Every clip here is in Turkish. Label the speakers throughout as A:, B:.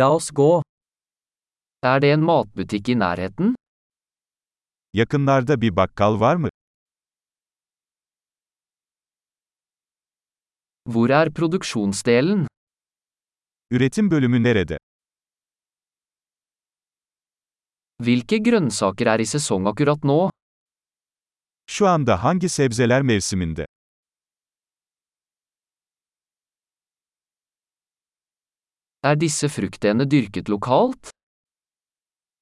A: La oss gå. Er det en matbutikk i nærheten?
B: Yakınlarda bir bakkal var mı?
A: Hvor er produksjonsdelen?
B: Üretim bölümü nerede?
A: Hvilke grønnsaker er i sesong akkurat nå?
B: Şu anda hangi sebzeler mevsiminde?
A: Er disse fruktene dyrket lokalt?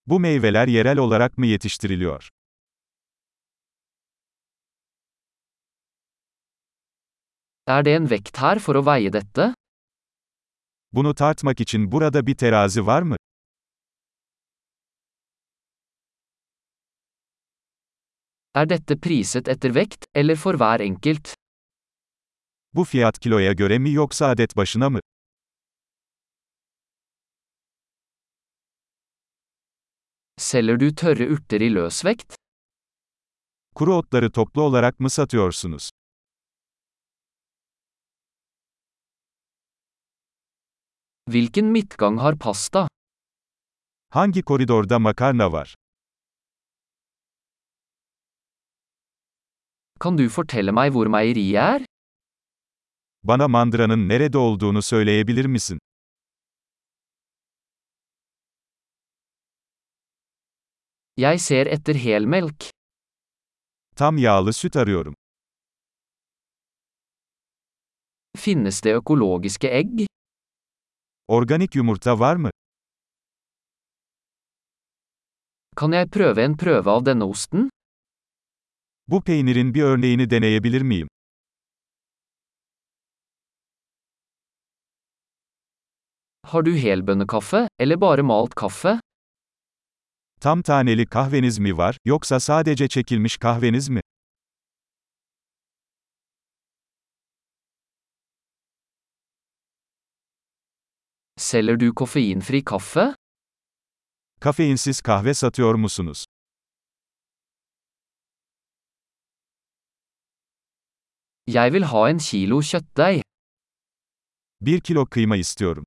B: Bu meyveler yerel olarak mı yetiştiriliyor?
A: Er det en vekt her for å veie dette?
B: Bunu tartmak için burada bir terazi var mı?
A: Er dette priset etter vekt, eller for hver enkelt?
B: Bu fiyat kiloya göre mi yoksa adet başına mı?
A: Selger du tørre urter i løsvekt?
B: Kuru otları toplu olarak mı satıyorsunuz?
A: Hvilken midtgang har pasta?
B: Hangi koridorda makarna var?
A: Kan du fortelle meg hvor meieriet er?
B: Bana mandıranın nerede olduğunu söyleyebilir misin?
A: Jeg ser etter helmelk.
B: Tam yağlı süt arıyorum.
A: Finnes det økologiske egg?
B: Organik yumurta var mı?
A: Kan jeg prøve en prøve av denne osten?
B: Bu peynirin bir örneğini deneyebilir miyim?
A: Har du helbønnekaffe, eller bare malt kaffe?
B: Tam taneli kahveniz mi var, yoksa sadece çekilmiş kahveniz mi?
A: Selger du koffeinfri kaffe?
B: Kafeinsiz kahve satıyor musunuz?
A: Jeg vil ha en kilo kjøttdeig.
B: 1 kilo kıyma istiyorum.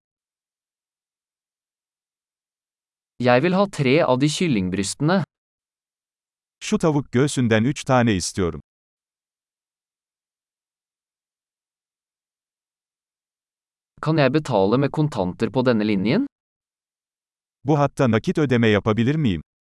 A: Jeg vil ha tre av de kyllingbrystene.
B: Şu tavuk göğsünden 3 tane istiyorum.
A: Kan jeg betale med kontanter på denne linjen?
B: Bu hatta nakit ödeme yapabilir miyim?